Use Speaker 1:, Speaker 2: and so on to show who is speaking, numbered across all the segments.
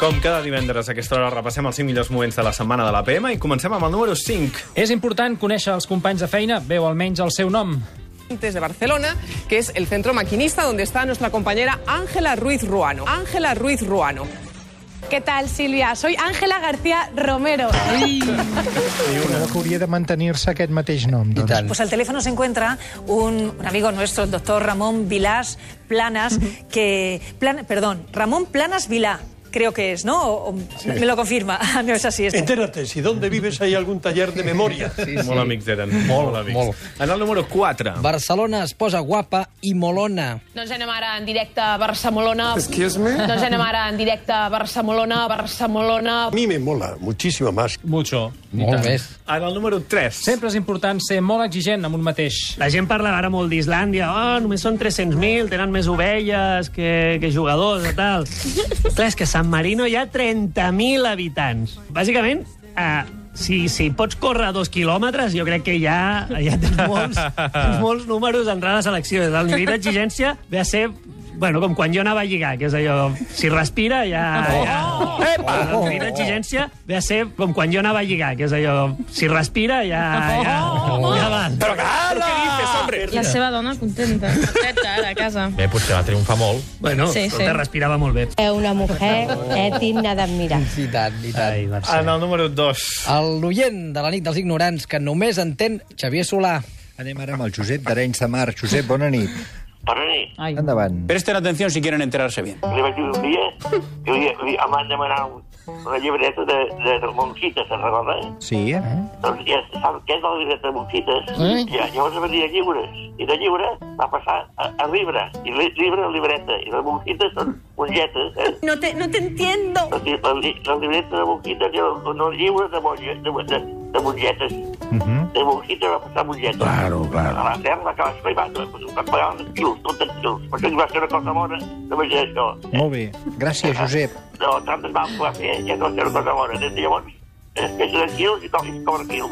Speaker 1: Com cada divendres a aquesta hora repassem els 5 millors moments de la setmana de la PM i comencem amb el número 5.
Speaker 2: És important conèixer els companys de feina, veu almenys el seu nom.
Speaker 3: Desde Barcelona, que es el centro maquinista donde está nuestra compañera Ángela Ruiz Ruano. Ángela Ruiz Ruano.
Speaker 4: ¿Qué tal, Silvia? Soy Ángela García Romero.
Speaker 5: Creo que hauria de mantenir-se aquest mateix nom. Doncs.
Speaker 6: Pues al teléfono se encuentra un, un amigo nuestro, el doctor Ramón Vilás Planas, que. Plan- perdón, Ramón Planas Vilá, creo que es, ¿no? O- o- Me lo confirma. Ah, no es así. es-
Speaker 7: Entérate, si dónde vives hay algún taller de memoria.
Speaker 1: Sí. Molt amics eren. Molt, molt amics.
Speaker 8: molt.
Speaker 1: En el número 4.
Speaker 8: Barcelona es posa guapa i molona.
Speaker 9: Doncs anem ara en directe a Barcelona.
Speaker 7: Excuse me?
Speaker 9: Doncs anem ara en directe a Barcelona, Barcelona.
Speaker 7: A mí me mola muchísimo más.
Speaker 2: Mucho.
Speaker 8: Molt més.
Speaker 1: En el número 3.
Speaker 2: Sempre és important ser molt exigent amb un mateix.
Speaker 10: La gent parla ara molt d'Islàndia. Oh, només són 300.000, tenen més ovelles que, que jugadors i tal. Clar, és que a San Marino hi ha 30.000 habitants. Bàsicament, eh, si, si pots córrer dos quilòmetres, jo crec que ja, ja tens molts, tens molts números d'entrada a selecció. El nivell d'exigència ve a ser Bueno, com quan jo anava a lligar, que és allò... Si respira, ja... ja. Epa! El nivell d'exigència ve a ser com quan jo anava a lligar, que és allò... Si respira, ja... ja, ja va.
Speaker 7: ¡Pero Carla! ¿Qué dices, hombre?
Speaker 11: La seva dona contenta, contenta ara a casa.
Speaker 12: Bé, potser va triomfar molt.
Speaker 10: Bueno,
Speaker 11: Sí,
Speaker 10: sí,
Speaker 11: sí.
Speaker 10: sí. respirava molt bé.
Speaker 4: Es una mujer es digna de admirar.
Speaker 8: I tant, i tant.
Speaker 10: Ai, Barça.
Speaker 1: En el número 2.
Speaker 8: El l'oient de la nit dels ignorants que només entén Xavier Solà.
Speaker 5: Anem ara amb el Josep d'Arenys de Mar. Josep, bona nit.
Speaker 6: Ai.
Speaker 5: Endavant.
Speaker 12: Presten atenció si quieren enterarse bien.
Speaker 7: Li vaig dir un dia, jo li, li em van demanar un- una llibreta de, de, de Monquites, se'n recorda?
Speaker 5: Sí, eh?
Speaker 7: Doncs ja sap què és la llibreta de Monquites? Mm. Ja, llavors venia llibres, i de llibre va passar a, a llibre, i li, llibre a llibreta, i de Monquites són mongetes, eh?
Speaker 4: No te, no te entiendo.
Speaker 7: La, li- la, li- la llibreta de Monquites era un un llibre de, monge, de, de, de mongetes. Mm
Speaker 5: Mhm.
Speaker 7: -hmm. De Monquites va passar a mongetes. Claro, claro. A la terra va acabar escrivant, va pagar uns quilos, tots els quilos, perquè li va ser una cosa bona, no vaig dir això.
Speaker 5: Molt bé. Gràcies, Josep.
Speaker 7: No, tantes vam poder fer, ja no sé cosa bona. Des de llavors, es que tranquils i toquis cobertiu.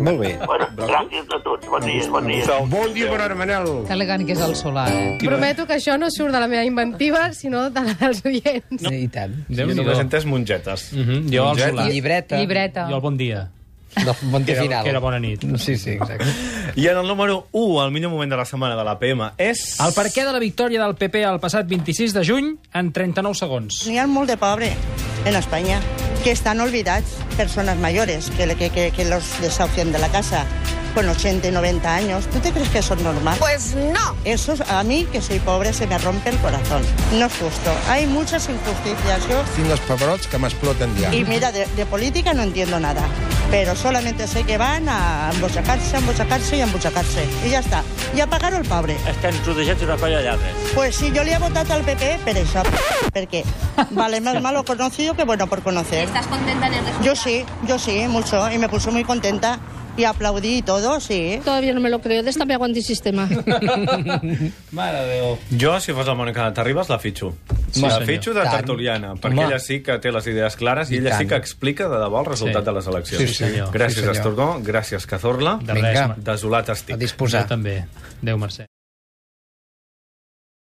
Speaker 5: Molt bé.
Speaker 7: Bueno, gràcies a tots, bon dia, bon dia.
Speaker 1: Bon dia, bon hora, Manel.
Speaker 6: Que elegant que és el solar, eh?
Speaker 11: Prometo que això no surt de la meva inventiva, sinó de la dels oients.
Speaker 8: No. I tant.
Speaker 1: Jo només he entès mongetes.
Speaker 2: Mhm, jo al
Speaker 1: Mongetes.
Speaker 8: La
Speaker 2: solar.
Speaker 8: llibreta.
Speaker 11: Llibreta.
Speaker 2: Jo el bon dia.
Speaker 8: No, bon
Speaker 2: Que
Speaker 8: dia
Speaker 2: era,
Speaker 8: final.
Speaker 2: que era bona nit.
Speaker 8: Sí, sí, exacte.
Speaker 1: I en el número 1, el millor moment de la setmana de la PM és...
Speaker 2: El per què de la victòria del PP el passat 26 de juny en 39 segons.
Speaker 4: N'hi ha molt de pobre en Espanya que estan olvidats persones mayores que, que, que, que los desahucian de la casa con 80 y 90 años. ¿Tú te crees que eso es normal? Pues no. Eso es- a mí, que soy pobre, se me rompe el corazón. No es justo. Hay muchas injusticias. Yo,
Speaker 5: Tinc les pebrots que m'exploten ja.
Speaker 4: y mira, de, de política no entiendo nada. Pero solamente sé que van a embochacarse, a embochacarse y a embochacarse. Y ya está. Y a pagar el pobre.
Speaker 7: Estem rodejats d'una colla lladres.
Speaker 4: Pues sí, yo le he votado al PP, pero eso, porque vale más malo conocido que bueno por conocer.
Speaker 9: Estàs contenta en el
Speaker 4: Yo sí, yo sí, mucho, y me puso muy contenta y aplaudí y todo, sí.
Speaker 11: Todavía no me lo creo, de esta me aguanto el sistema.
Speaker 2: Mare de Déu.
Speaker 1: Jo, si fos la Mònica de Terribas, la fitxo. Sí, la
Speaker 8: senyor.
Speaker 1: fitxo de
Speaker 8: Tant.
Speaker 1: Tertuliana, perquè
Speaker 8: Home.
Speaker 1: ella sí que té les idees clares i,
Speaker 8: I
Speaker 1: ella sí
Speaker 8: tant.
Speaker 1: que explica de debò el resultat
Speaker 2: Sí.
Speaker 1: de les eleccions.
Speaker 8: Sí, senyor.
Speaker 1: Gràcies,
Speaker 8: Sí, senyor.
Speaker 1: Estornó, gràcies, Cazorla.
Speaker 2: De res,
Speaker 8: Vinga.
Speaker 2: Mar-
Speaker 1: Desolat
Speaker 8: A
Speaker 1: estic.
Speaker 2: jo
Speaker 8: disposar.
Speaker 2: també. Déu, Mercè.